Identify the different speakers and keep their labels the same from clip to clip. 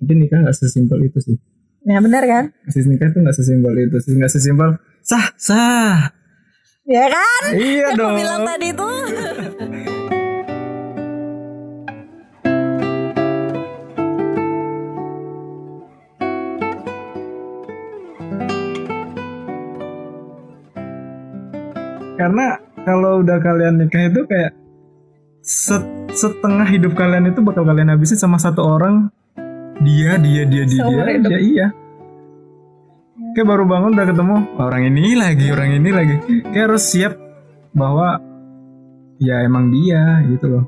Speaker 1: Tapi nikah nggak sesimpel itu sih.
Speaker 2: Nah benar kan?
Speaker 1: Sis nikah tuh nggak sesimpel itu. Sis nggak sesimpel sah sah.
Speaker 2: Ya kan?
Speaker 1: Iya
Speaker 2: Yang
Speaker 1: dong.
Speaker 2: aku bilang tadi tuh.
Speaker 1: Karena kalau udah kalian nikah itu kayak set- setengah hidup kalian itu bakal kalian habisin sama satu orang. Dia dia dia dia
Speaker 2: Seumur
Speaker 1: dia,
Speaker 2: hidup.
Speaker 1: dia, iya. Kayak baru bangun udah ketemu "Oh, orang ini lagi orang ini lagi. Kayak harus siap bahwa ya emang dia gitu loh.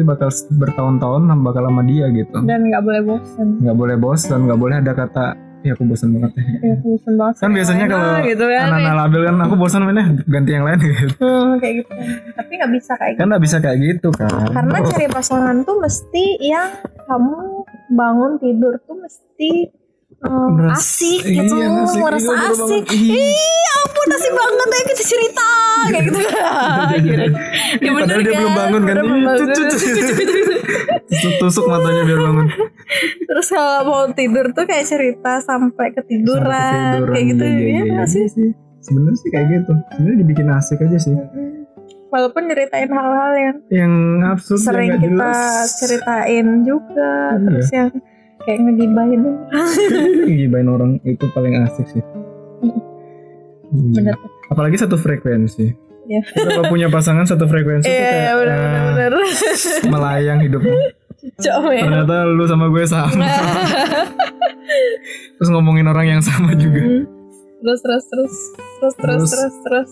Speaker 1: Dia bakal bertahun-tahun bakal sama dia gitu.
Speaker 2: Dan nggak boleh bosen.
Speaker 1: nggak boleh bosan nggak boleh ada kata ya aku bosan banget ya
Speaker 2: Ya, aku bosen banget.
Speaker 1: kan
Speaker 2: sama
Speaker 1: biasanya
Speaker 2: yang lain
Speaker 1: kalau
Speaker 2: lah, gitu kan,
Speaker 1: anak-anak label kan aku bosan mainnya ganti yang lain gitu
Speaker 2: Hmm, kayak gitu. Tapi nggak bisa kayak gitu.
Speaker 1: kan nggak bisa kayak gitu kan
Speaker 2: Karena cari pasangan tuh mesti yang kamu bangun tidur tuh mesti um,
Speaker 1: Meras-
Speaker 2: asik
Speaker 1: Iya,
Speaker 2: gitu,
Speaker 1: asik.
Speaker 2: merasa
Speaker 1: Iya, bener
Speaker 2: asik.
Speaker 1: banget. Iya.
Speaker 2: Iya, ampun asik banget ya kita cerita kayak gitu. Akhirnya. Ya
Speaker 1: Iya,
Speaker 2: bener
Speaker 1: padahal dia belum bangun kan
Speaker 2: Padahal belum bangun.
Speaker 1: tusuk matanya biar bangun
Speaker 2: Terus kalau mau tidur tuh kayak cerita sampai ketiduran,
Speaker 1: Ketiduran,
Speaker 2: kayak gitu
Speaker 1: iya,
Speaker 2: ya,
Speaker 1: iya, iya.
Speaker 2: nggak sih?
Speaker 1: sebenarnya sih kayak gitu sebenarnya dibikin asik aja sih
Speaker 2: Walaupun nyeritain hal-hal yang
Speaker 1: yang absurd yang
Speaker 2: sering
Speaker 1: nggak
Speaker 2: kita
Speaker 1: jelas.
Speaker 2: ceritain juga,
Speaker 1: Iya.
Speaker 2: terus yang kayak ngedibahin.
Speaker 1: gibain Iya, orang itu paling asik sih
Speaker 2: Mm.
Speaker 1: Iya.
Speaker 2: Bener.
Speaker 1: apalagi satu frekuensi
Speaker 2: Iya.
Speaker 1: Kita kalau punya pasangan satu frekuensi itu kayak,
Speaker 2: Iya,
Speaker 1: ah,
Speaker 2: benar-benar.
Speaker 1: melayang hidupnya
Speaker 2: Cocok ya.
Speaker 1: ternyata lu sama gue sama
Speaker 2: Nah.
Speaker 1: terus ngomongin orang yang sama juga
Speaker 2: Hmm. Terus terus terus terus terus
Speaker 1: Terus.
Speaker 2: terus terus.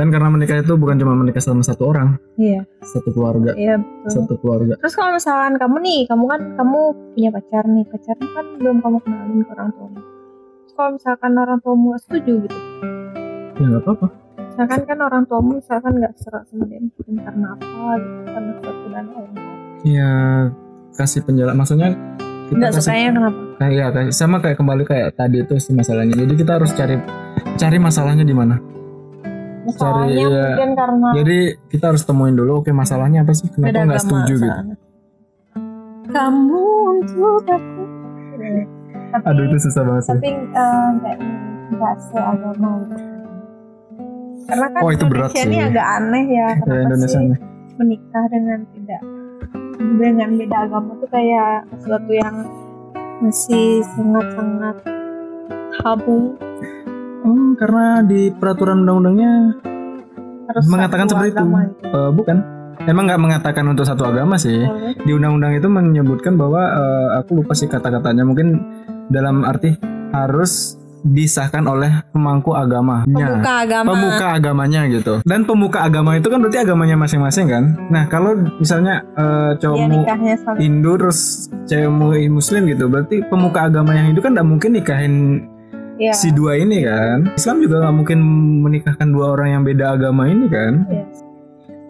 Speaker 1: dan karena menikah itu bukan cuma menikah sama satu orang
Speaker 2: Iya,
Speaker 1: satu keluarga
Speaker 2: iya betul.
Speaker 1: satu keluarga
Speaker 2: Terus kalau misalkan kamu nih, kamu kan kamu punya pacar nih, pacarnya kan belum kamu kenalin ke orang tuamu. Terus kalau misalkan orang tuamu gak setuju gitu,
Speaker 1: ya nggak apa-apa
Speaker 2: misalkan kan orang tuamu misalkan nggak serak sama dia mungkin karena apa gitu, karena suatu dan lain.
Speaker 1: ya kasih penjelasan maksudnya kita
Speaker 2: Nggak
Speaker 1: kasih
Speaker 2: sukanya kenapa?
Speaker 1: kayak ya, kayak- sama kayak kembali kayak tadi itu sih masalahnya jadi kita harus cari cari masalahnya di mana
Speaker 2: Masalahnya
Speaker 1: iya.
Speaker 2: mungkin karena
Speaker 1: jadi kita harus temuin dulu oke masalahnya apa sih
Speaker 2: beda
Speaker 1: kenapa nggak
Speaker 2: agama
Speaker 1: setuju gitu
Speaker 2: misalnya. Kamu untuk aku. Tapi,
Speaker 1: aduh itu susah banget sih
Speaker 2: tapi eh, nggak nggak seagama gitu. karena kan
Speaker 1: Oh, itu berat
Speaker 2: Indonesia ini
Speaker 1: sih.
Speaker 2: agak aneh ya
Speaker 1: ya,
Speaker 2: kenapa
Speaker 1: Indonesia
Speaker 2: sih
Speaker 1: nih.
Speaker 2: menikah dengan tidak dengan beda agama tuh kayak sesuatu yang masih sangat sangat tabu
Speaker 1: Hmm, karena di peraturan undang-undangnya
Speaker 2: harus
Speaker 1: Mengatakan
Speaker 2: satu
Speaker 1: seperti itu.
Speaker 2: agama
Speaker 1: Eh, bukan. Emang nggak mengatakan untuk satu agama sih.
Speaker 2: gitu.
Speaker 1: Di undang-undang itu menyebutkan bahwa eh, aku lupa sih kata-katanya. Mungkin dalam arti harus disahkan oleh pemangku agamanya.
Speaker 2: pemuka agama
Speaker 1: Pemuka agamanya gitu. Dan pemuka agama itu kan berarti agamanya masing-masing kan. Nah kalau misalnya eh,
Speaker 2: dia
Speaker 1: cowokmu
Speaker 2: nikahnya sama
Speaker 1: Hindu terus cewekmu Muslim gitu, berarti pemuka agama yang Hindu kan nggak mungkin nikahin
Speaker 2: ya
Speaker 1: si dua ini kan. Islam juga nggak mungkin menikahkan dua orang yang beda agama ini kan.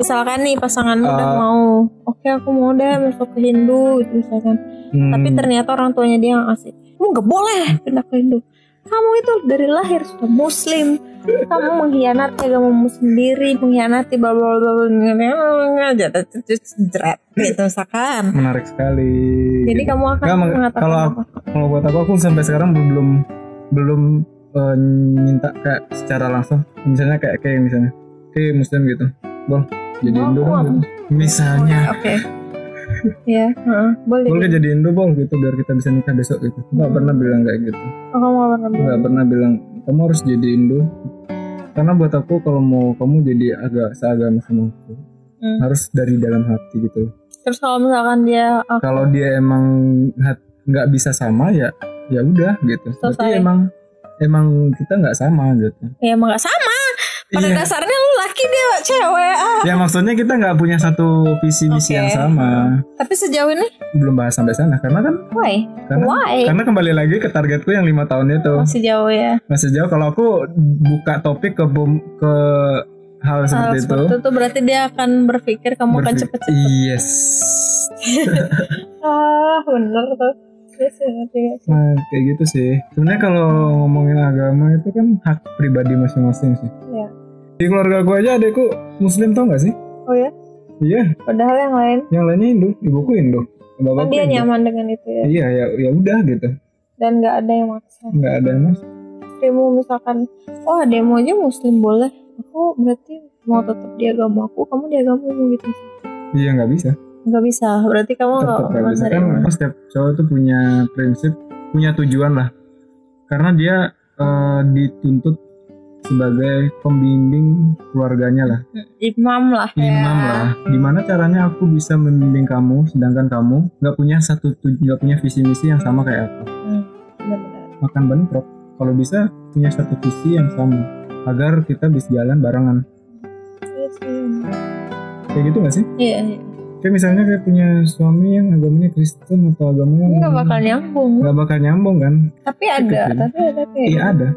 Speaker 2: misalkan nih pasanganmu udah
Speaker 1: Eh.
Speaker 2: mau oke aku mau deh masuk ke Hindu gitu misalkan tapi
Speaker 1: Hmm.
Speaker 2: ternyata orang tuanya dia yang ngasih kamu nggak boleh pindah ke Hindu kamu itu dari lahir sudah muslim kamu mengkhianati agamamu sendiri mengkhianati bla bla bla bla, bla, bla, bla, jatuh, jatuh, jeret, gitu misalkan
Speaker 1: menarik sekali. gitu.
Speaker 2: jadi kamu akan
Speaker 1: Nggak, meng-
Speaker 2: mengatakan
Speaker 1: kalau
Speaker 2: apa
Speaker 1: kalau buat aku aku sampai sekarang belum belum eh, minta kayak secara langsung misalnya kayak kayak misalnya kayak muslim gitu bol jadi
Speaker 2: Bol,
Speaker 1: Indo dong
Speaker 2: bol.
Speaker 1: gitu. misalnya
Speaker 2: oke ya heeh, boleh
Speaker 1: boleh jadi Indo bol gitu biar kita bisa nikah besok gitu nggak pernah bilang kayak gitu
Speaker 2: Oh, kamu nggak pernah bilang.
Speaker 1: nggak pernah bilang kamu harus jadi Indo karena buat aku kalau mau kamu jadi agak seagama sama aku
Speaker 2: Hmm.
Speaker 1: harus dari dalam hati gitu
Speaker 2: terus kalau misalkan dia aku
Speaker 1: kalau dia emang hat- nggak bisa sama ya ya udah gitu tapi
Speaker 2: Selesai.
Speaker 1: emang emang kita nggak sama gitu
Speaker 2: ya emang nggak sama pada
Speaker 1: Iya.
Speaker 2: dasarnya lu laki dia cewek ah.
Speaker 1: ya maksudnya kita nggak punya satu visi misi
Speaker 2: Oke.
Speaker 1: yang sama
Speaker 2: tapi sejauh ini
Speaker 1: belum bahas sampai sana karena kan
Speaker 2: why
Speaker 1: Karena-
Speaker 2: why
Speaker 1: karena kembali lagi ke targetku yang lima tahun itu
Speaker 2: masih jauh ya
Speaker 1: masih jauh kalau aku buka topik ke bom- ke hal
Speaker 2: Hal
Speaker 1: seperti itu
Speaker 2: Ah,
Speaker 1: iya.
Speaker 2: seperti itu berarti dia akan berpikir kamu akan
Speaker 1: berfi-
Speaker 2: cepet-cepet
Speaker 1: yes
Speaker 2: ah bener tuh Iya sih, ngerti gak sih?
Speaker 1: nah kayak gitu sih sebenarnya kalau ngomongin agama itu kan hak pribadi masing-masing sih
Speaker 2: Iya.
Speaker 1: Di keluarga gue aja adekku muslim tau gak sih?
Speaker 2: Oh ya,
Speaker 1: Iya,
Speaker 2: padahal yang lain
Speaker 1: yang lainnya Hindu, ibuku Hindu.
Speaker 2: kan
Speaker 1: Bapakku
Speaker 2: dia
Speaker 1: Hindu.
Speaker 2: nyaman dengan itu ya.
Speaker 1: Iya, ya ya udah gitu.
Speaker 2: Dan nggak ada yang maksa.
Speaker 1: Nggak ada yang mas.
Speaker 2: Istrimu misalkan, oh demo aja muslim boleh. Aku berarti mau tetap di agama aku, kamu di agamamu gitu.
Speaker 1: Iya nggak bisa.
Speaker 2: Nggak bisa, berarti kamu Oh, nggak
Speaker 1: Tetap nggak bisa kan?
Speaker 2: menerima.
Speaker 1: kan setiap cowok tuh punya prinsip, punya tujuan lah. Karena dia eh, dituntut sebagai pembimbing keluarganya lah,
Speaker 2: Imam lah ya.
Speaker 1: Kan, imam lah. Gimana caranya aku bisa membimbing kamu, sedangkan kamu nggak punya satu tu- nggak punya visi misi yang sama kayak aku.
Speaker 2: Benar-benar.
Speaker 1: Makan bentrok. Kalau bisa punya satu visi yang sama, agar kita bisa jalan barengan.
Speaker 2: Iya sih.
Speaker 1: Kayak gitu nggak sih?
Speaker 2: Iya, iya.
Speaker 1: Kayak misalnya kayak punya suami yang agamanya Kristen atau agamanya
Speaker 2: nggak bakal
Speaker 1: Hmm.
Speaker 2: nyambung.
Speaker 1: nggak bakal nyambung kan?
Speaker 2: Tapi ada,
Speaker 1: Gitu.
Speaker 2: tapi ada kayak.
Speaker 1: Iya ada,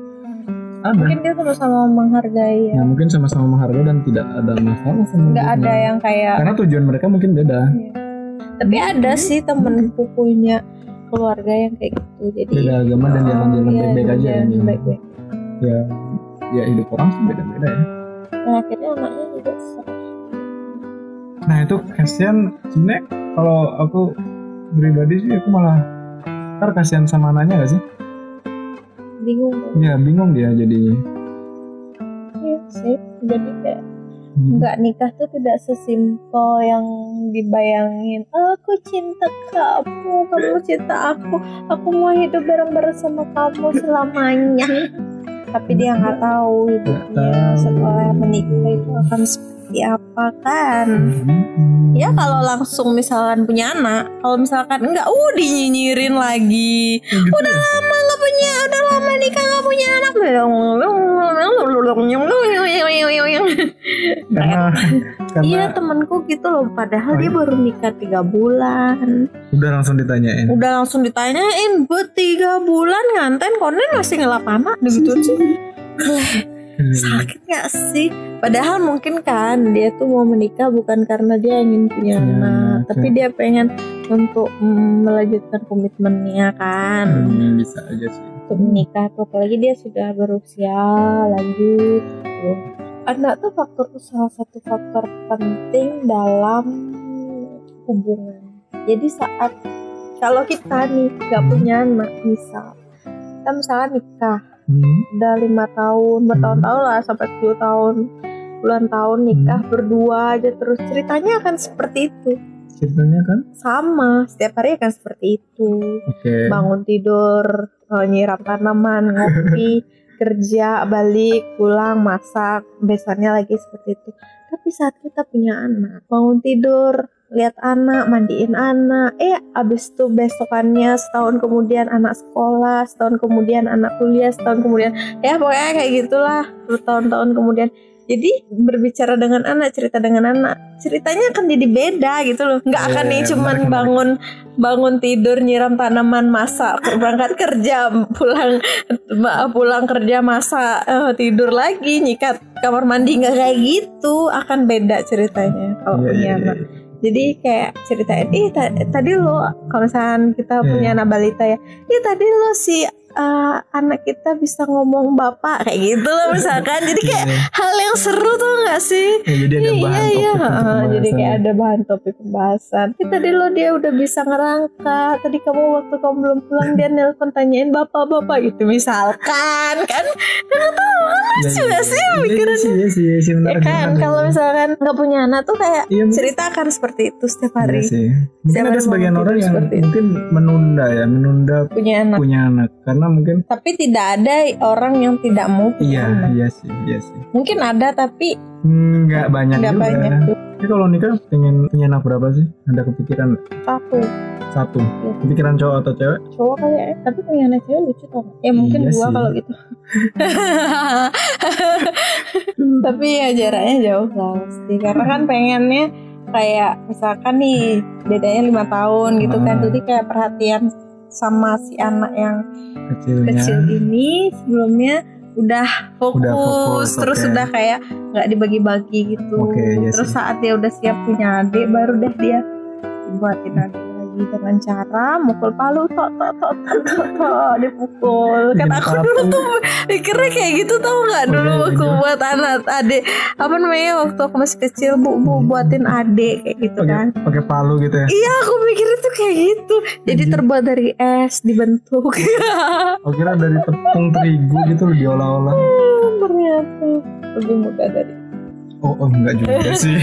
Speaker 1: ada.
Speaker 2: Mungkin dia sama-sama menghargai ya.
Speaker 1: Nah mungkin sama-sama menghargai dan tidak ada masalah sama
Speaker 2: Nggak
Speaker 1: itu.
Speaker 2: ada ya. yang kayak iya.
Speaker 1: Karena tujuan mereka mungkin beda.
Speaker 2: tapi ada sih temen pupunya keluarga yang kayak gitu jadi
Speaker 1: Beda agama dan jalan-jalan
Speaker 2: Iya,
Speaker 1: beda aja.
Speaker 2: jalan
Speaker 1: kan?
Speaker 2: baik-baik.
Speaker 1: Ya, ya hidup orang sih beda-beda ya.
Speaker 2: dan akhirnya anaknya juga se-
Speaker 1: Nah itu kasihan sebenarnya kalau aku pribadi sih aku malah ntar kasihan sama anaknya gak sih?
Speaker 2: bingung dong.
Speaker 1: Ya bingung dia jadinya.
Speaker 2: Iya sih jadi kayak nggak nikah tuh tidak sesimpel yang dibayangin aku cinta kamu kamu cinta aku aku mau hidup bareng-bareng sama kamu selamanya tapi dia nggak tahu hidupnya
Speaker 1: tahu.
Speaker 2: setelah menikah itu akan seperti apa kan
Speaker 1: Hmm.
Speaker 2: Ya kalau langsung misalkan punya anak, kalau misalkan enggak, uh dinyinyirin lagi.
Speaker 1: gitu.
Speaker 2: Udah lama nggak punya, udah lama nikah nggak punya anak.
Speaker 1: karena karena Oh, iya.
Speaker 2: Iya temanku gitu loh, padahal dia baru nikah tiga bulan.
Speaker 1: udah langsung ditanyain
Speaker 2: Udah langsung ditanyain, buat tiga bulan nganten konen masih ngelap anak gitu sih.
Speaker 1: Hmm.
Speaker 2: Sakit gak sih? Padahal mungkin kan dia tuh mau menikah bukan karena dia ingin punya
Speaker 1: Iya,
Speaker 2: anak,
Speaker 1: oke.
Speaker 2: tapi dia pengen untuk mm, melanjutkan komitmennya kan
Speaker 1: Hmm, bisa aja sih
Speaker 2: untuk menikah. Tuh. Apalagi dia sudah berusia lanjut. gitu. Anak tuh faktor salah satu faktor penting dalam hubungan. Jadi saat kalau kita nih gak punya anak misal, kita misalnya nikah
Speaker 1: Hmm,
Speaker 2: udah lima tahun bertahun-tahun lah sampai 10 tahun puluhan tahun nikah berdua aja terus ceritanya akan seperti itu
Speaker 1: ceritanya kan
Speaker 2: sama setiap hari akan seperti itu
Speaker 1: oke
Speaker 2: bangun tidur eh, nyiram tanaman ngopi kerja balik pulang masak besoknya lagi seperti itu tapi saat kita punya anak bangun tidur lihat anak mandiin anak eh abis itu besokannya setahun kemudian anak sekolah setahun kemudian anak kuliah setahun kemudian
Speaker 1: Hmm.
Speaker 2: ya pokoknya kayak gitulah bertahun-tahun kemudian jadi berbicara dengan anak cerita dengan anak ceritanya akan jadi beda gitu loh nggak
Speaker 1: Iya,
Speaker 2: akan nih
Speaker 1: iya,
Speaker 2: cuman
Speaker 1: menarik, menarik.
Speaker 2: bangun bangun tidur nyiram tanaman masak berangkat kerja pulang ma- pulang kerja masak eh, tidur lagi nyikat kamar mandi nggak kayak gitu akan beda ceritanya kalau
Speaker 1: Iya,
Speaker 2: punya
Speaker 1: iya,
Speaker 2: anak
Speaker 1: iya.
Speaker 2: jadi kayak ceritain ih ta- tadi lo kalau misalkan kita
Speaker 1: Iya.
Speaker 2: punya anak balita ya ih tadi lo si eh, anak kita bisa ngomong bapak kayak gitu lah misalkan jadi kayak
Speaker 1: Iya,
Speaker 2: hal yang seru tuh nggak sih
Speaker 1: iya, jadi ada bahan
Speaker 2: iya, iya.
Speaker 1: topik untuk
Speaker 2: Heeh,
Speaker 1: pembahasan. ya.
Speaker 2: jadi
Speaker 1: Hmm.
Speaker 2: kayak ada bahan topik pembahasan. Tapi tadi lo dia udah bisa ngerangka. Tadi kamu waktu kamu belum pulang dia nelpon tanyain bapak-bapak gitu misalkan kan
Speaker 1: Iya, iya,
Speaker 2: juga
Speaker 1: iya.
Speaker 2: sih
Speaker 1: Iya, iya,
Speaker 2: pikirannya.
Speaker 1: sih, iya, sih, iya, sih,
Speaker 2: ya
Speaker 1: menarik,
Speaker 2: kan
Speaker 1: menarik.
Speaker 2: kalau misalkan nggak punya anak tuh kayak
Speaker 1: Iya, mungkin-
Speaker 2: cerita akan seperti itu setiap
Speaker 1: iya
Speaker 2: hari
Speaker 1: sih. mungkin ada
Speaker 2: Siapa yang mau
Speaker 1: sebagian
Speaker 2: tidur
Speaker 1: orang yang
Speaker 2: seperti itu?
Speaker 1: mungkin menunda ya menunda
Speaker 2: punya anak.
Speaker 1: punya anak karena mungkin
Speaker 2: Tapi tidak ada orang yang tidak mau punya
Speaker 1: iya
Speaker 2: anak.
Speaker 1: iya sih iya sih Hmm,
Speaker 2: Mungkin ada tapi
Speaker 1: nggak banyak
Speaker 2: nggak
Speaker 1: juga
Speaker 2: banyak tuh.
Speaker 1: Tapi kalau nikah pengen punya anak berapa sih ada kepikiran nggak?
Speaker 2: Aku
Speaker 1: satu
Speaker 2: Iya.
Speaker 1: kepikiran cowok atau cewek
Speaker 2: cowok kayaknya tapi punya anak cewek lucu tau nggak? ya mungkin
Speaker 1: Iya
Speaker 2: dua
Speaker 1: sih.
Speaker 2: kalau gitu tapi ya jaraknya jauh lah pasti karena kan pengennya kayak misalkan nih bedanya lima tahun gitu kan
Speaker 1: Hmm.
Speaker 2: jadi kayak perhatian sama si anak yang
Speaker 1: kecilnya
Speaker 2: kecil ini sebelumnya udah fokus,
Speaker 1: Iya. Udah fokus,
Speaker 2: terus
Speaker 1: oke.
Speaker 2: udah kayak nggak dibagi-bagi gitu
Speaker 1: Oke, iya
Speaker 2: terus
Speaker 1: sih.
Speaker 2: saat dia udah siap punya adik baru deh dia buatin adik lagi dengan cara mukul palu tok tok tok tok tok, tok, dipukul kan
Speaker 1: Bikin
Speaker 2: aku
Speaker 1: patung.
Speaker 2: dulu tuh mikirnya kayak gitu tau nggak dulu
Speaker 1: Oh, iya,
Speaker 2: aku
Speaker 1: iya.
Speaker 2: buat anak adik apa namanya waktu aku masih kecil bu bu
Speaker 1: Hmm.
Speaker 2: buatin adik kayak gitu
Speaker 1: pakai
Speaker 2: kan
Speaker 1: pakai palu gitu ya
Speaker 2: iya aku mikirnya tuh kayak gitu jadi
Speaker 1: Iya.
Speaker 2: terbuat dari es dibentuk
Speaker 1: aku Oh, kira dari tepung terigu gitu loh diolah-olah
Speaker 2: ternyata lebih mudah dari
Speaker 1: oh, oh enggak juga sih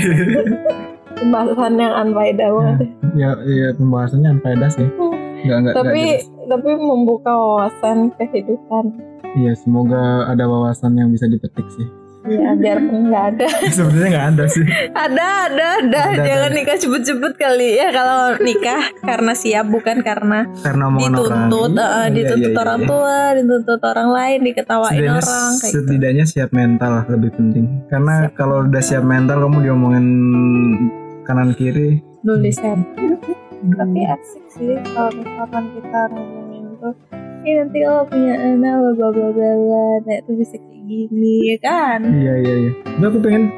Speaker 2: Iya. pembahasan yang unfaedah banget
Speaker 1: ya ya pembahasannya unfaedah sih enggak enggak enggak
Speaker 2: tapi
Speaker 1: jelas.
Speaker 2: tapi membuka wawasan kehidupan
Speaker 1: Iya, semoga ada wawasan yang bisa dipetik sih.
Speaker 2: ya biarpun nggak ada
Speaker 1: Sebenarnya nggak ada sih.
Speaker 2: ada ada ada
Speaker 1: Ada,
Speaker 2: jangan
Speaker 1: ada.
Speaker 2: nikah cepet-cepet kali ya kalau nikah karena siap bukan karena
Speaker 1: Karena omongan orang.
Speaker 2: dituntut
Speaker 1: Iya,
Speaker 2: eh,
Speaker 1: iya,
Speaker 2: dituntut
Speaker 1: iya, iya.
Speaker 2: orang tua dituntut orang lain diketawain
Speaker 1: Setidaknya,
Speaker 2: orang kayak gitu.
Speaker 1: setidaknya siap mental lah lebih penting. Karena
Speaker 2: Siap.
Speaker 1: kalau udah siap mental kamu diomongin kanan kiri.
Speaker 2: dulu tapi
Speaker 1: Hmm.
Speaker 2: asik sih kalau misalkan kita ngomongin tuh ini nanti lo punya anak lo bla bla bla bla nah itu bisa kayak gini ya kan
Speaker 1: Iya iya iya. Udah aku pengen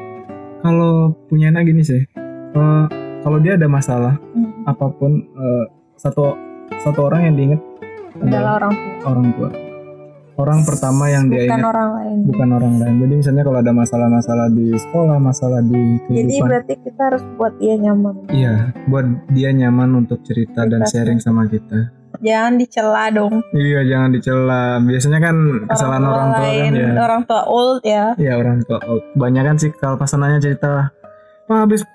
Speaker 1: kalau punya anak gini sih. eh, kalau dia ada masalah
Speaker 2: Hmm.
Speaker 1: apapun eh, satu satu orang yang diingat
Speaker 2: Hmm, adalah
Speaker 1: adalah
Speaker 2: orang tua
Speaker 1: orang tua. Orang pertama Iya. yang dia
Speaker 2: bukan
Speaker 1: ingat
Speaker 2: orang lain
Speaker 1: bukan orang lain. Jadi misalnya kalau ada masalah-masalah di sekolah, masalah di
Speaker 2: jadi
Speaker 1: kehidupan,
Speaker 2: berarti kita harus buat dia nyaman
Speaker 1: iya, buat dia nyaman untuk cerita dan
Speaker 2: Cerita.
Speaker 1: sharing sama kita.
Speaker 2: jangan dicela dong
Speaker 1: Iya, jangan dicela. Biasanya kan kesalahan orang tua kan ya.
Speaker 2: orang tua old ya
Speaker 1: Iya, orang tua. Banyak kan sih kalau pasangannya cerita, "Pak, habis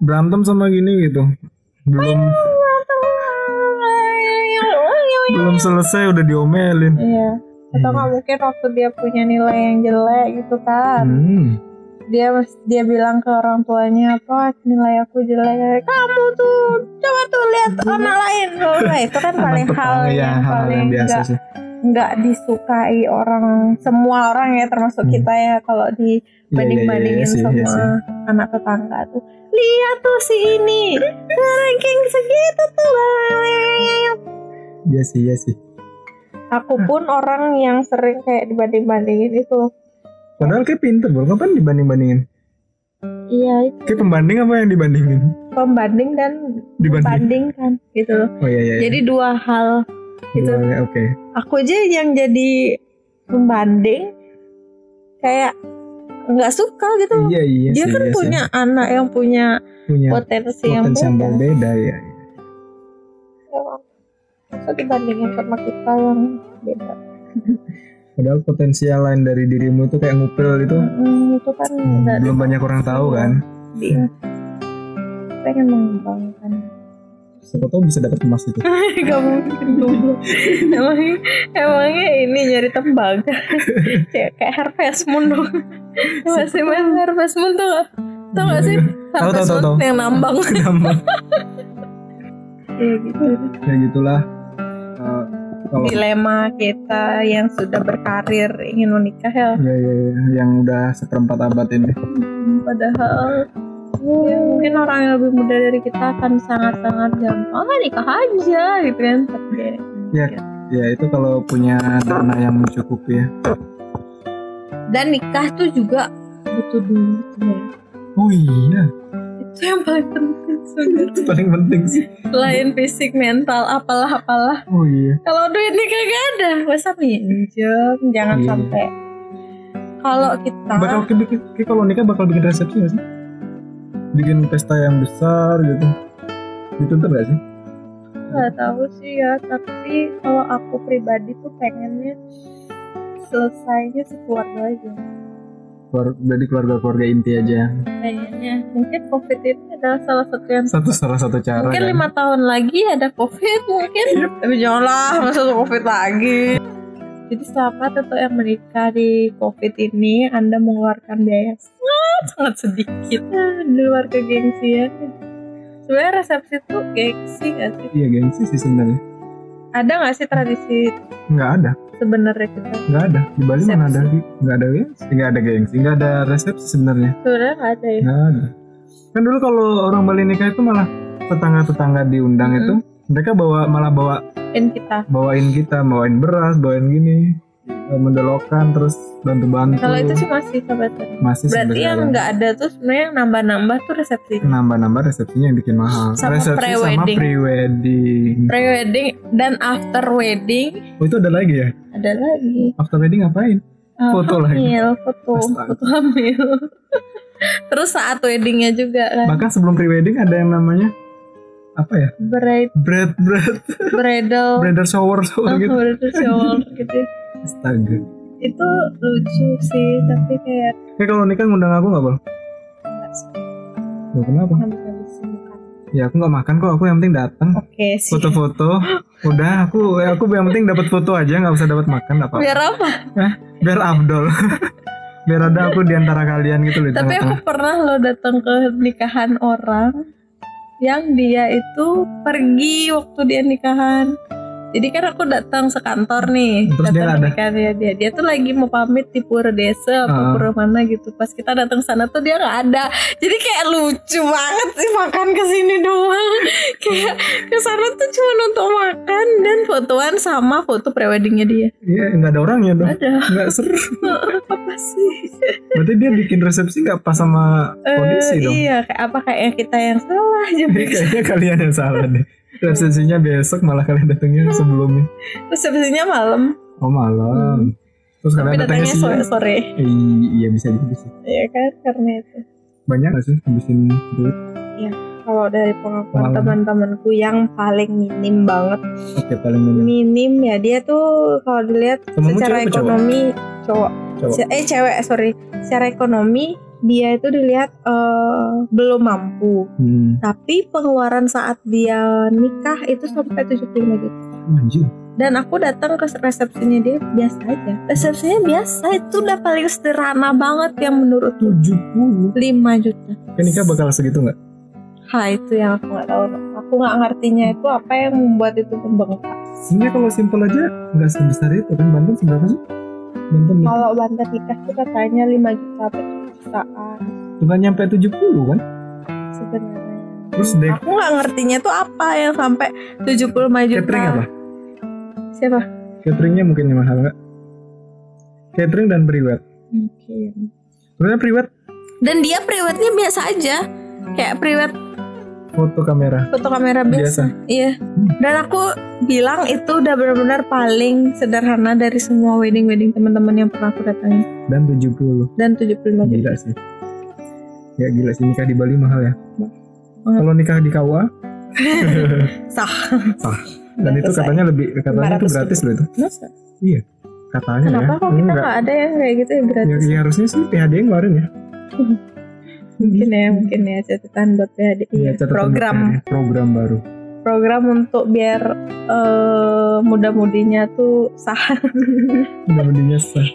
Speaker 1: berantem sama gini gitu." Belum belum selesai udah diomelin.
Speaker 2: Iya. Atau nggak
Speaker 1: Iya.
Speaker 2: mungkin waktu dia punya nilai yang jelek gitu kan.
Speaker 1: Hmm.
Speaker 2: Dia dia bilang ke orang tuanya apa nilai aku jelek. Kamu tuh coba tuh lihat anak lain. Nah, itu kan
Speaker 1: Anak
Speaker 2: paling hal
Speaker 1: tetangga,
Speaker 2: yang
Speaker 1: hal
Speaker 2: paling
Speaker 1: ya, yang biasa
Speaker 2: nggak
Speaker 1: sih. Iya,
Speaker 2: nggak disukai orang semua orang ya termasuk
Speaker 1: Hmm.
Speaker 2: kita ya kalau
Speaker 1: Iya, iya,
Speaker 2: dibanding
Speaker 1: iya, iya
Speaker 2: bandingin
Speaker 1: sih,
Speaker 2: sama
Speaker 1: iya sih.
Speaker 2: anak tetangga tuh lihat tuh si ini ranking segitu tuh
Speaker 1: Iya sih, iya sih.
Speaker 2: aku pun orang yang sering kayak dibanding-bandingin itu loh.
Speaker 1: Padahal kayak pinter, bro. Kapan dibanding-bandingin?
Speaker 2: Iya, itu
Speaker 1: Kayak pembanding apa yang dibandingin?
Speaker 2: pembanding dan
Speaker 1: Dibanding.
Speaker 2: bandingkan gitu loh.
Speaker 1: Oh iya iya. iya.
Speaker 2: Jadi dua hal. gitu.
Speaker 1: Dua, ya, Oke.
Speaker 2: Aku aja yang jadi pembanding kayak nggak suka gitu loh.
Speaker 1: Iya iya.
Speaker 2: Dia
Speaker 1: sih,
Speaker 2: kan
Speaker 1: iya sih.
Speaker 2: punya anak yang punya
Speaker 1: punya
Speaker 2: potensi, yang
Speaker 1: potensi yang
Speaker 2: beda.
Speaker 1: berbeda ya.
Speaker 2: Masa dibandingin sama kita yang beda.
Speaker 1: Padahal potensial lain dari dirimu itu kayak ngupil itu
Speaker 2: Hmm, itu kan nggak
Speaker 1: belum
Speaker 2: ada-
Speaker 1: banyak orang tahu kan.
Speaker 2: Dia pengen mengembangkan.
Speaker 1: Siapa tahu bisa dapat emas itu.
Speaker 2: Gak mungkin goblok Emangnya Emangnya ini nyari tembaga Kayak kayak harvest moon dong Masih main harvest moon tuh gak Tau gak sih
Speaker 1: Tahu,
Speaker 2: Harvest
Speaker 1: tahu,
Speaker 2: moon
Speaker 1: tahu, tahu.
Speaker 2: yang nambang
Speaker 1: Gampang.
Speaker 2: Kayak gitu
Speaker 1: ya gitulah. Eh, kalau
Speaker 2: Dilema kita yang sudah berkarir Ingin menikah ya
Speaker 1: ya, ya, ya, yang udah seperempat abad ini.
Speaker 2: Hmm, Padahal ya mungkin orang yang lebih muda dari kita akan sangat-sangat gampang ah, nikah aja gitu kan Tapi dia-
Speaker 1: Ya. Ya itu kalau punya dana yang mencukupi ya.
Speaker 2: dan nikah tuh juga butuh duit ya.
Speaker 1: Oh iya,
Speaker 2: itu yang paling penting sebenarnya
Speaker 1: itu paling penting sih.
Speaker 2: selain fisik mental apalah apalah
Speaker 1: Oh iya.
Speaker 2: kalau duitnya kagak ada masa minjem jangan
Speaker 1: Iya.
Speaker 2: sampai kalau kita
Speaker 1: Bakal ke- bikin, kayak kalau nikah bakal bikin resepsi gak sih? Bikin pesta yang besar gitu. Dituntut gak sih?
Speaker 2: nggak tahu sih ya tapi kalau aku pribadi tuh pengennya selesainya sekeluarga aja
Speaker 1: Keluar- jadi keluarga-keluarga inti aja.
Speaker 2: pengennya mungkin covid ini adalah salah satu yang
Speaker 1: Satu salah satu cara.
Speaker 2: mungkin
Speaker 1: kan?
Speaker 2: lima tahun lagi ada covid mungkin tapi janganlah masa tuh covid lagi jadi selamat untuk yang menikah di covid ini anda mengeluarkan biaya yang sangat sangat sedikit Ah, di luar kegengsian sebenarnya resepsi tuh gengsi gak sih
Speaker 1: Iya gengsi sih sebenarnya.
Speaker 2: ada gak sih tradisi
Speaker 1: Nggak ada,
Speaker 2: sebenarnya kita
Speaker 1: nggak ada. Di Bali mana
Speaker 2: Resepsi.
Speaker 1: ada? Nggak ada gengsi, nggak ada gengsi, nggak ada resepsi sebenarnya.
Speaker 2: sebenarnya gak ada ya
Speaker 1: Nggak ada. Kan dulu kalau orang Bali nikah itu malah tetangga-tetangga diundang
Speaker 2: Mm-mm.
Speaker 1: itu mereka bawa malah bawa
Speaker 2: dan kita
Speaker 1: bawain kita, bawain beras, bawain gini. eh, mendelokan terus bantu-bantu
Speaker 2: Kalau itu sih masih kebetulan.
Speaker 1: masih
Speaker 2: Berarti
Speaker 1: sebagai
Speaker 2: yang
Speaker 1: agama.
Speaker 2: nggak ada tuh sebenarnya yang nambah-nambah tuh resepsi.
Speaker 1: nambah-nambah resepsinya yang bikin mahal
Speaker 2: Sama
Speaker 1: resepsi sama
Speaker 2: pre-wedding.
Speaker 1: pre-wedding
Speaker 2: Pre-wedding dan after wedding
Speaker 1: oh itu ada lagi ya
Speaker 2: ada lagi.
Speaker 1: after wedding ngapain
Speaker 2: Eh,
Speaker 1: Foto lagi.
Speaker 2: hamil, Foto,
Speaker 1: Astaga.
Speaker 2: foto hamil. Terus saat weddingnya juga kan.
Speaker 1: bahkan sebelum pre-wedding ada yang namanya apa ya
Speaker 2: Bride,
Speaker 1: bread bread
Speaker 2: bridal, Ah,
Speaker 1: bread shower
Speaker 2: Oh.
Speaker 1: shower gitu
Speaker 2: bridal shower gitu.
Speaker 1: astaga
Speaker 2: Itu lucu sih, tapi kayak
Speaker 1: Eh kalau nikah ngundang aku nggak bal?
Speaker 2: nggak sering
Speaker 1: Loh, kenapa?
Speaker 2: habis-habisin makan.
Speaker 1: Ya aku nggak makan kok. Aku yang penting datang.
Speaker 2: Oke sih.
Speaker 1: Foto-foto. Udah aku eh, aku yang penting dapat foto aja. Nggak usah dapat makan nggak apa. Biar,
Speaker 2: Biar apa?
Speaker 1: Biar Abdul. Biar ada aku di antara kalian gitu loh. di
Speaker 2: Tapi aku
Speaker 1: tengah-tengah.
Speaker 2: pernah lo datang ke nikahan orang yang dia itu pergi waktu dia nikahan. Jadi kan aku datang sekantor nih,
Speaker 1: Terus dia
Speaker 2: datang
Speaker 1: ada?
Speaker 2: nikahan ya dia. Dia tuh lagi mau pamit di Purwodesa
Speaker 1: Ah.
Speaker 2: apa Pura mana gitu. Pas kita datang sana tuh dia nggak ada. Jadi kayak lucu banget sih makan ke sini doang. kayak ke sana tuh cuma untuk makan dan fotoan sama foto preweddingnya dia.
Speaker 1: Iya nggak ada orangnya dong.
Speaker 2: Ada
Speaker 1: Nggak seru.
Speaker 2: apa sih?
Speaker 1: Berarti dia bikin resepsi nggak pas sama kondisi
Speaker 2: Eh,
Speaker 1: dong. Iya.
Speaker 2: Iya, kayak apa kayak kita yang salah
Speaker 1: Jadi
Speaker 2: jadi
Speaker 1: kayaknya kalian yang salah deh. Resepsinya besok malah kalian datangnya sebelumnya.
Speaker 2: Terus habisnya malam,
Speaker 1: Oh malam. Terus
Speaker 2: Hmm. tapi
Speaker 1: kalian datangnya
Speaker 2: datangnya
Speaker 1: siang.
Speaker 2: sore-sore.
Speaker 1: Eh, iya bisa jadi bisa.
Speaker 2: Ya kan, karena itu.
Speaker 1: Banyak nggak sih habisin duit?
Speaker 2: Kalau dari pengakuan
Speaker 1: Malam.
Speaker 2: teman-temanku yang paling minim banget,
Speaker 1: Oke paling minim.
Speaker 2: minim ya dia tuh kalau dilihat
Speaker 1: Temenmu
Speaker 2: secara
Speaker 1: Iya. cewek apa cowok?
Speaker 2: ekonomi cowok,
Speaker 1: Cowok.
Speaker 2: Ce- eh cewek sorry, secara ekonomi dia itu dilihat eh, belum mampu,
Speaker 1: Hmm.
Speaker 2: tapi pengeluaran saat dia nikah itu sampai 75 juta.
Speaker 1: Anjir.
Speaker 2: dan aku datang ke resepsinya dia biasa aja resepsinya biasa itu udah paling sederhana banget yang menurut
Speaker 1: 70
Speaker 2: 5 juta
Speaker 1: Kan nikah bakal segitu nggak?
Speaker 2: ha itu yang aku nggak tahu aku nggak ngertinya itu apa yang membuat itu membengkak
Speaker 1: Sebenarnya kalau simpel aja nggak sebesar itu kan Banten seberapa sih? Banten ya? itu
Speaker 2: kalau banten nikah tuh katanya 5 juta sampai 7 jutaan
Speaker 1: nggak nyampe 70 kan?
Speaker 2: sebenarnya
Speaker 1: Terus dek
Speaker 2: aku nggak ngertinya tuh apa yang sampai 75 juta
Speaker 1: catering apa?
Speaker 2: siapa
Speaker 1: Cateringnya mungkin yang mahal nggak? Catering dan priwet.
Speaker 2: mungkin
Speaker 1: Sebenarnya priwet
Speaker 2: dan dia priwetnya biasa aja kayak priwet
Speaker 1: foto kamera
Speaker 2: foto kamera biasa
Speaker 1: biasa. Hmm.
Speaker 2: Iya. Dan aku bilang itu udah benar-benar paling sederhana dari semua wedding-wedding teman-teman yang pernah aku datangi
Speaker 1: Dan 70
Speaker 2: dan 75 juta.
Speaker 1: Gila sih. Ya gila sih nikah di Bali mahal ya.
Speaker 2: Mahal.
Speaker 1: Kalau nikah di Kawa
Speaker 2: Sah.
Speaker 1: Sah. dan itu katanya lebih katanya itu
Speaker 2: 500
Speaker 1: gratis loh itu.
Speaker 2: Masa?
Speaker 1: Katanya
Speaker 2: Kenapa
Speaker 1: ya.
Speaker 2: kok kita
Speaker 1: Enggak.
Speaker 2: nggak ada yang kayak gitu ya
Speaker 1: Ya,
Speaker 2: gratis?
Speaker 1: ya harusnya sih PHD yang ngeluarin ya.
Speaker 2: Mungkin ya, mungkin ya catatan buat PHDI.
Speaker 1: Iya, catatan
Speaker 2: program
Speaker 1: buat PHD. program baru.
Speaker 2: program untuk biar eh, muda-mudinya tuh sah.
Speaker 1: Udah mendingnya sah.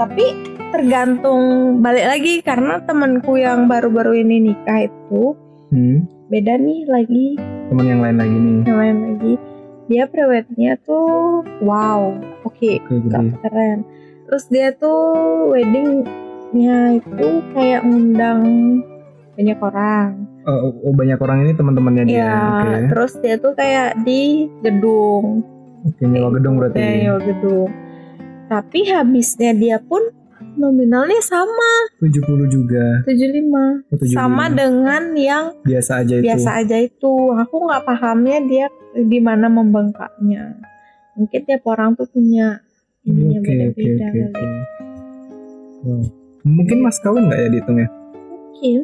Speaker 2: Tapi tergantung balik lagi karena temanku yang baru-baru ini nikah itu
Speaker 1: Hmm.
Speaker 2: beda nih lagi
Speaker 1: Teman yang lain lagi nih.
Speaker 2: yang lain lagi dia prewednya tuh wow oke
Speaker 1: Oke, gede.
Speaker 2: gak keren terus dia tuh weddingnya itu kayak ngundang banyak orang
Speaker 1: Oh, oh, oh, banyak orang ini teman-temannya dia.
Speaker 2: ya
Speaker 1: Iya, Oke.
Speaker 2: terus dia tuh kayak di gedung
Speaker 1: Oke, nyewa gedung berarti.
Speaker 2: Kayak nyewa gedung tapi habisnya dia pun nominalnya sama
Speaker 1: 70 juga.
Speaker 2: 75
Speaker 1: Oh, 75.
Speaker 2: sama dengan yang
Speaker 1: biasa aja itu.
Speaker 2: biasa aja itu aku nggak pahamnya dia di mana membengkaknya mungkin tiap orang tuh punya ininya
Speaker 1: Oke, oke,
Speaker 2: beda-beda
Speaker 1: oke,
Speaker 2: kali.
Speaker 1: oke. Wow. Mungkin mas kawin nggak ya dihitung ya?
Speaker 2: mungkin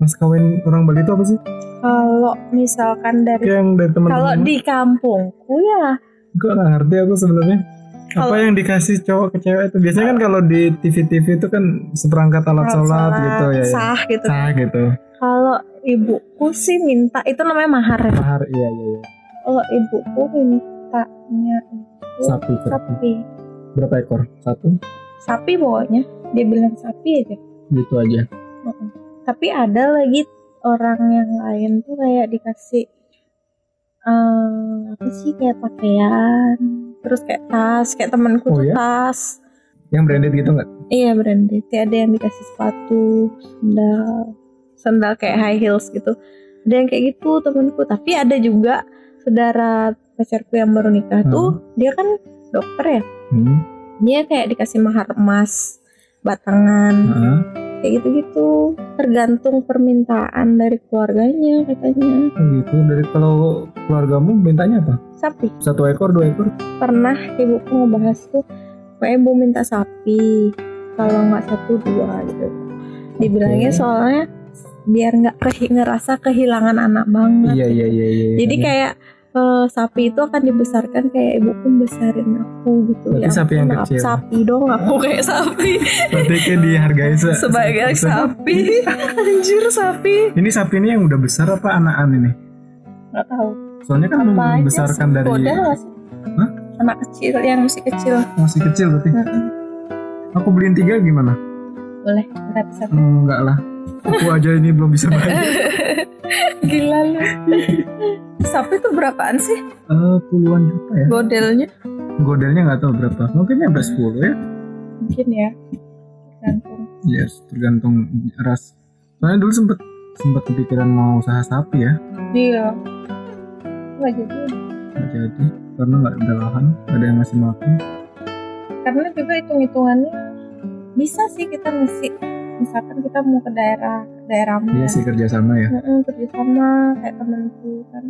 Speaker 1: Mas kawin orang Bali itu apa sih?
Speaker 2: kalau misalkan dari
Speaker 1: Kayak yang dari teman-teman.
Speaker 2: kalau di kampungku ya
Speaker 1: Gue nggak ngerti aku sebenarnya. Apa
Speaker 2: Kalau-
Speaker 1: yang dikasih cowok ke cewek itu biasanya kan kalau di TV-TV itu kan seperangkat alat
Speaker 2: orang
Speaker 1: sholat gitu ya. ya.
Speaker 2: sah gitu
Speaker 1: Sah gitu.
Speaker 2: kalau ibuku sih minta itu namanya mahar ya
Speaker 1: Mahar iya iya. iya.
Speaker 2: kalau ibuku mintanya itu
Speaker 1: Sapi berapa?
Speaker 2: sapi
Speaker 1: Berapa ekor? Satu?
Speaker 2: sapi pokoknya dia bilang sapi aja
Speaker 1: Gitu aja.
Speaker 2: Mm-mm. Tapi ada lagi orang yang lain tuh kayak dikasih eh apa sih
Speaker 1: Hmm.
Speaker 2: kayak pakaian, terus kayak tas, kayak temanku
Speaker 1: Oh,
Speaker 2: tuh
Speaker 1: ya?
Speaker 2: tas.
Speaker 1: Yang branded gitu nggak?
Speaker 2: Iya branded. Kayak ada yang dikasih sepatu, sandal, sandal kayak high heels gitu. Ada yang kayak gitu temanku. Tapi ada juga saudara pacarku yang baru nikah
Speaker 1: Hmm.
Speaker 2: tuh, dia kan dokter ya.
Speaker 1: Hmm.
Speaker 2: dia kayak dikasih mahar emas batangan
Speaker 1: Heeh.
Speaker 2: kayak gitu-gitu tergantung permintaan dari keluarganya katanya
Speaker 1: Oh gitu. Dari kalau keluargamu mintanya apa?
Speaker 2: sapi
Speaker 1: Satu ekor, dua ekor?
Speaker 2: pernah ibuku ngebahas tuh pokoknya ibu minta sapi kalau nggak satu dua gitu dibilangnya
Speaker 1: Oke.
Speaker 2: soalnya biar nggak kehi- ngerasa kehilangan anak banget
Speaker 1: Iya iya iya iya.
Speaker 2: jadi kayak eh, sapi itu akan dibesarkan kayak ibuku besarin aku gitu
Speaker 1: Berarti sapi yang
Speaker 2: ampun, ap-
Speaker 1: kecil.
Speaker 2: sapi dong aku kayak sapi
Speaker 1: berarti kayak dihargai se-
Speaker 2: sebagai
Speaker 1: se-
Speaker 2: sapi anjir sapi
Speaker 1: Ini sapi ini yang udah besar apa anakan ini?
Speaker 2: nggak tahu
Speaker 1: Soalnya kan
Speaker 2: apa aja
Speaker 1: membesarkan
Speaker 2: sih,
Speaker 1: dari
Speaker 2: model nggak sih?
Speaker 1: Hah?
Speaker 2: anak kecil yang masih kecil
Speaker 1: masih kecil berarti.
Speaker 2: Mm-mm.
Speaker 1: Aku beliin tiga gimana?
Speaker 2: boleh ntar bisa
Speaker 1: Hmm, enggak lah. Aku aja ini belum bisa bayar.
Speaker 2: Gila lu. Sapi tuh berapaan sih
Speaker 1: Eh, puluhan juta ya.
Speaker 2: modelnya?
Speaker 1: Godelnya nggak tahu berapa. Mungkin nyampe 10 ya.
Speaker 2: Mungkin ya. Tergantung.
Speaker 1: Yes, tergantung ras. Soalnya dulu sempet sempat kepikiran mau usaha sapi ya.
Speaker 2: Iya. Nggak jadi.
Speaker 1: Nggak jadi karena nggak ada lahan, nggak ada yang ngasih makan.
Speaker 2: Karena juga hitung-hitungannya bisa sih kita ngasih. Misalkan kita mau ke daerah daerahmu.
Speaker 1: Iya sih kerjasama ya.
Speaker 2: Heeh, kerjasama kayak temenku kan.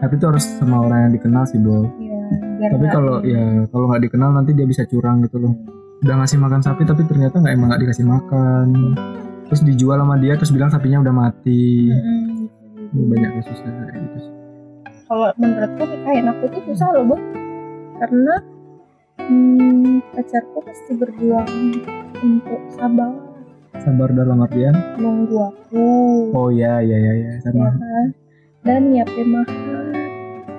Speaker 1: Tapi itu harus sama orang yang dikenal sih, Bo.
Speaker 2: Iya. biar
Speaker 1: Tapi
Speaker 2: nggak-
Speaker 1: kalau ya kalau nggak dikenal nanti dia bisa curang gitu loh. Udah ngasih makan sapi tapi ternyata nggak emang nggak dikasih makan. Terus dijual sama dia terus bilang sapinya udah mati.
Speaker 2: Heeh, gitu.
Speaker 1: Ini banyak kasusnya kayak gitu. sih.
Speaker 2: kalau menurutku nikahin aku tuh susah loh bu karena hmm, pacarku pasti berjuang untuk sabar
Speaker 1: Sabar dalam artian.
Speaker 2: nunggu aku
Speaker 1: Oh ya ya ya ya
Speaker 2: ya
Speaker 1: sama.
Speaker 2: kan dan nyiapin mahar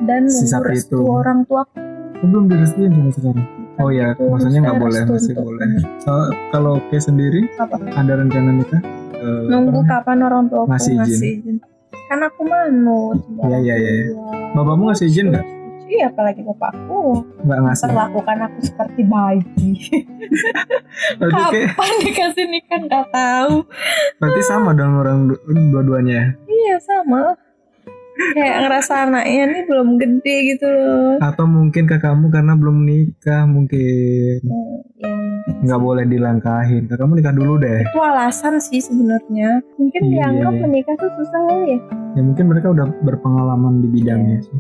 Speaker 2: dan
Speaker 1: Si
Speaker 2: nunggu
Speaker 1: sapi
Speaker 2: restu
Speaker 1: itu.
Speaker 2: orang tua aku
Speaker 1: Aku belum direstuin sama sekarang. Oh ya,
Speaker 2: Itu
Speaker 1: maksudnya nggak
Speaker 2: harus
Speaker 1: boleh
Speaker 2: restu
Speaker 1: masih
Speaker 2: untuk-
Speaker 1: boleh. Soal kalau oke sendiri
Speaker 2: Apa?
Speaker 1: ada rencana nikah? Eh,
Speaker 2: nunggu
Speaker 1: apa?
Speaker 2: kapan orang tua aku
Speaker 1: Ngasih
Speaker 2: ngasih
Speaker 1: izin.
Speaker 2: izin kan aku manut sama
Speaker 1: Iya,
Speaker 2: orang
Speaker 1: iya, iya.
Speaker 2: tua.
Speaker 1: Bapakmu ngasih izin nggak?
Speaker 2: Iya apalagi bapakku
Speaker 1: Nggak ngasih.
Speaker 2: Perlakukan aku seperti bayi
Speaker 1: Berarti kayak,
Speaker 2: Kapan dikasih nikah gak tahu
Speaker 1: berarti sama dong orang du- dua-duanya. ya?
Speaker 2: Iya sama Kayak ngerasa anaknya nih belum gede gitu loh
Speaker 1: Atau mungkin kakakmu karena belum nikah mungkin
Speaker 2: Hmm, ya.
Speaker 1: nggak boleh dilangkahin. Kakakmu nikah dulu deh.
Speaker 2: Itu alasan sih sebenarnya Mungkin
Speaker 1: Iya.
Speaker 2: dianggap menikah tuh susah kali ya
Speaker 1: Ya mungkin mereka udah berpengalaman di bidangnya sih.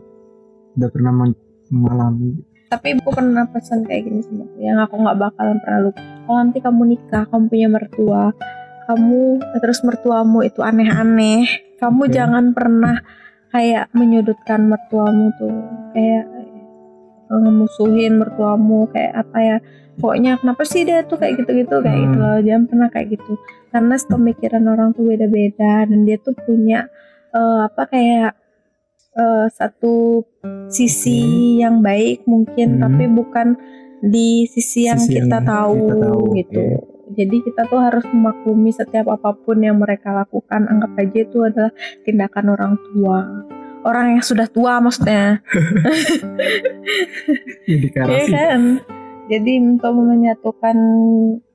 Speaker 1: Udah pernah men- mengalami.
Speaker 2: Tapi ibu pernah pesan kayak gini sama aku Yang aku gak bakalan pernah lupa Kalau nanti kamu nikah, kamu punya mertua Kamu, eh, terus mertuamu itu aneh-aneh Kamu
Speaker 1: Oke.
Speaker 2: jangan pernah kayak menyudutkan mertuamu tuh Kayak eh, musuhin mertuamu kayak apa ya pokoknya kenapa sih dia tuh kayak gitu-gitu kayak
Speaker 1: Hmm.
Speaker 2: gitu loh jangan pernah kayak gitu karena pemikiran orang tuh beda-beda dan dia tuh punya eh, apa kayak eh, satu sisi yang baik mungkin
Speaker 1: Hmm.
Speaker 2: tapi bukan di sisi yang,
Speaker 1: Sisi yang kita
Speaker 2: kita, tahu,
Speaker 1: tahu,
Speaker 2: gitu
Speaker 1: iya.
Speaker 2: jadi kita tuh harus memaklumi setiap apapun yang mereka lakukan anggap aja itu adalah tindakan orang tua orang yang sudah tua maksudnya
Speaker 1: Ya di
Speaker 2: Iya
Speaker 1: karasi.
Speaker 2: kan? Jadi untuk menyatukan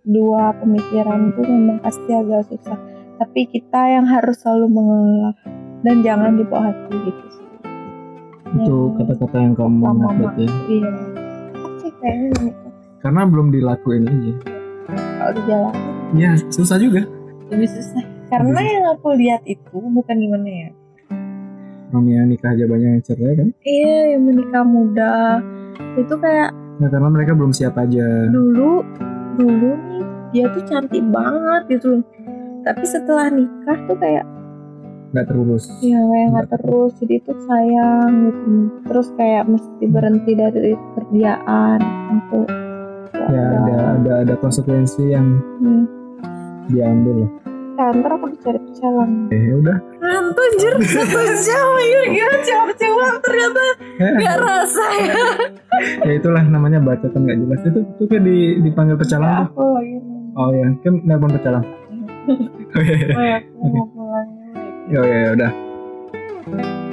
Speaker 2: dua pemikiran itu memang pasti agak susah. Tapi kita yang harus selalu mengelola dan jangan dibawa hati gitu sih.
Speaker 1: Itu kata-kata yang kamu
Speaker 2: Mama.
Speaker 1: dapat ya.
Speaker 2: Iya. Sih kayaknya menikah
Speaker 1: Karena belum dilakuin aja.
Speaker 2: kalau di jalan
Speaker 1: Ya susah juga.
Speaker 2: lebih susah. Karena yang aku lihat itu bukan gimana ya.
Speaker 1: Orang yang nikah aja banyak yang cerai kan?
Speaker 2: Iya, yang menikah muda itu kayak
Speaker 1: Nah, karena mereka belum siap aja.
Speaker 2: dulu dulu nih dia tuh cantik banget gitu loh. Tapi setelah nikah tuh kayak
Speaker 1: Nggak terurus.
Speaker 2: Iya kayak nggak terus jadi itu sayang gitu terus kayak mesti berhenti dari kerjaan untuk
Speaker 1: Ya ada ada ada konsekuensi yang
Speaker 2: Hmm.
Speaker 1: diambil loh.
Speaker 2: Nah, ntar aku dicari pecalang
Speaker 1: Eh, ya udah.
Speaker 2: Hantu anjir satu jam anjir gila jawab-jawab ternyata
Speaker 1: Ya,
Speaker 2: gak rasa ya
Speaker 1: ya itulah namanya bacotan nggak jelas. Itu tuh kayak di, dipanggil pecalang. tuh.
Speaker 2: Aku lagi
Speaker 1: Oh ya, kan nelpon pecalang. Oh ya,
Speaker 2: Iya. nunggu aku mau pulang
Speaker 1: Oh, iya, ya, ya, ya udah.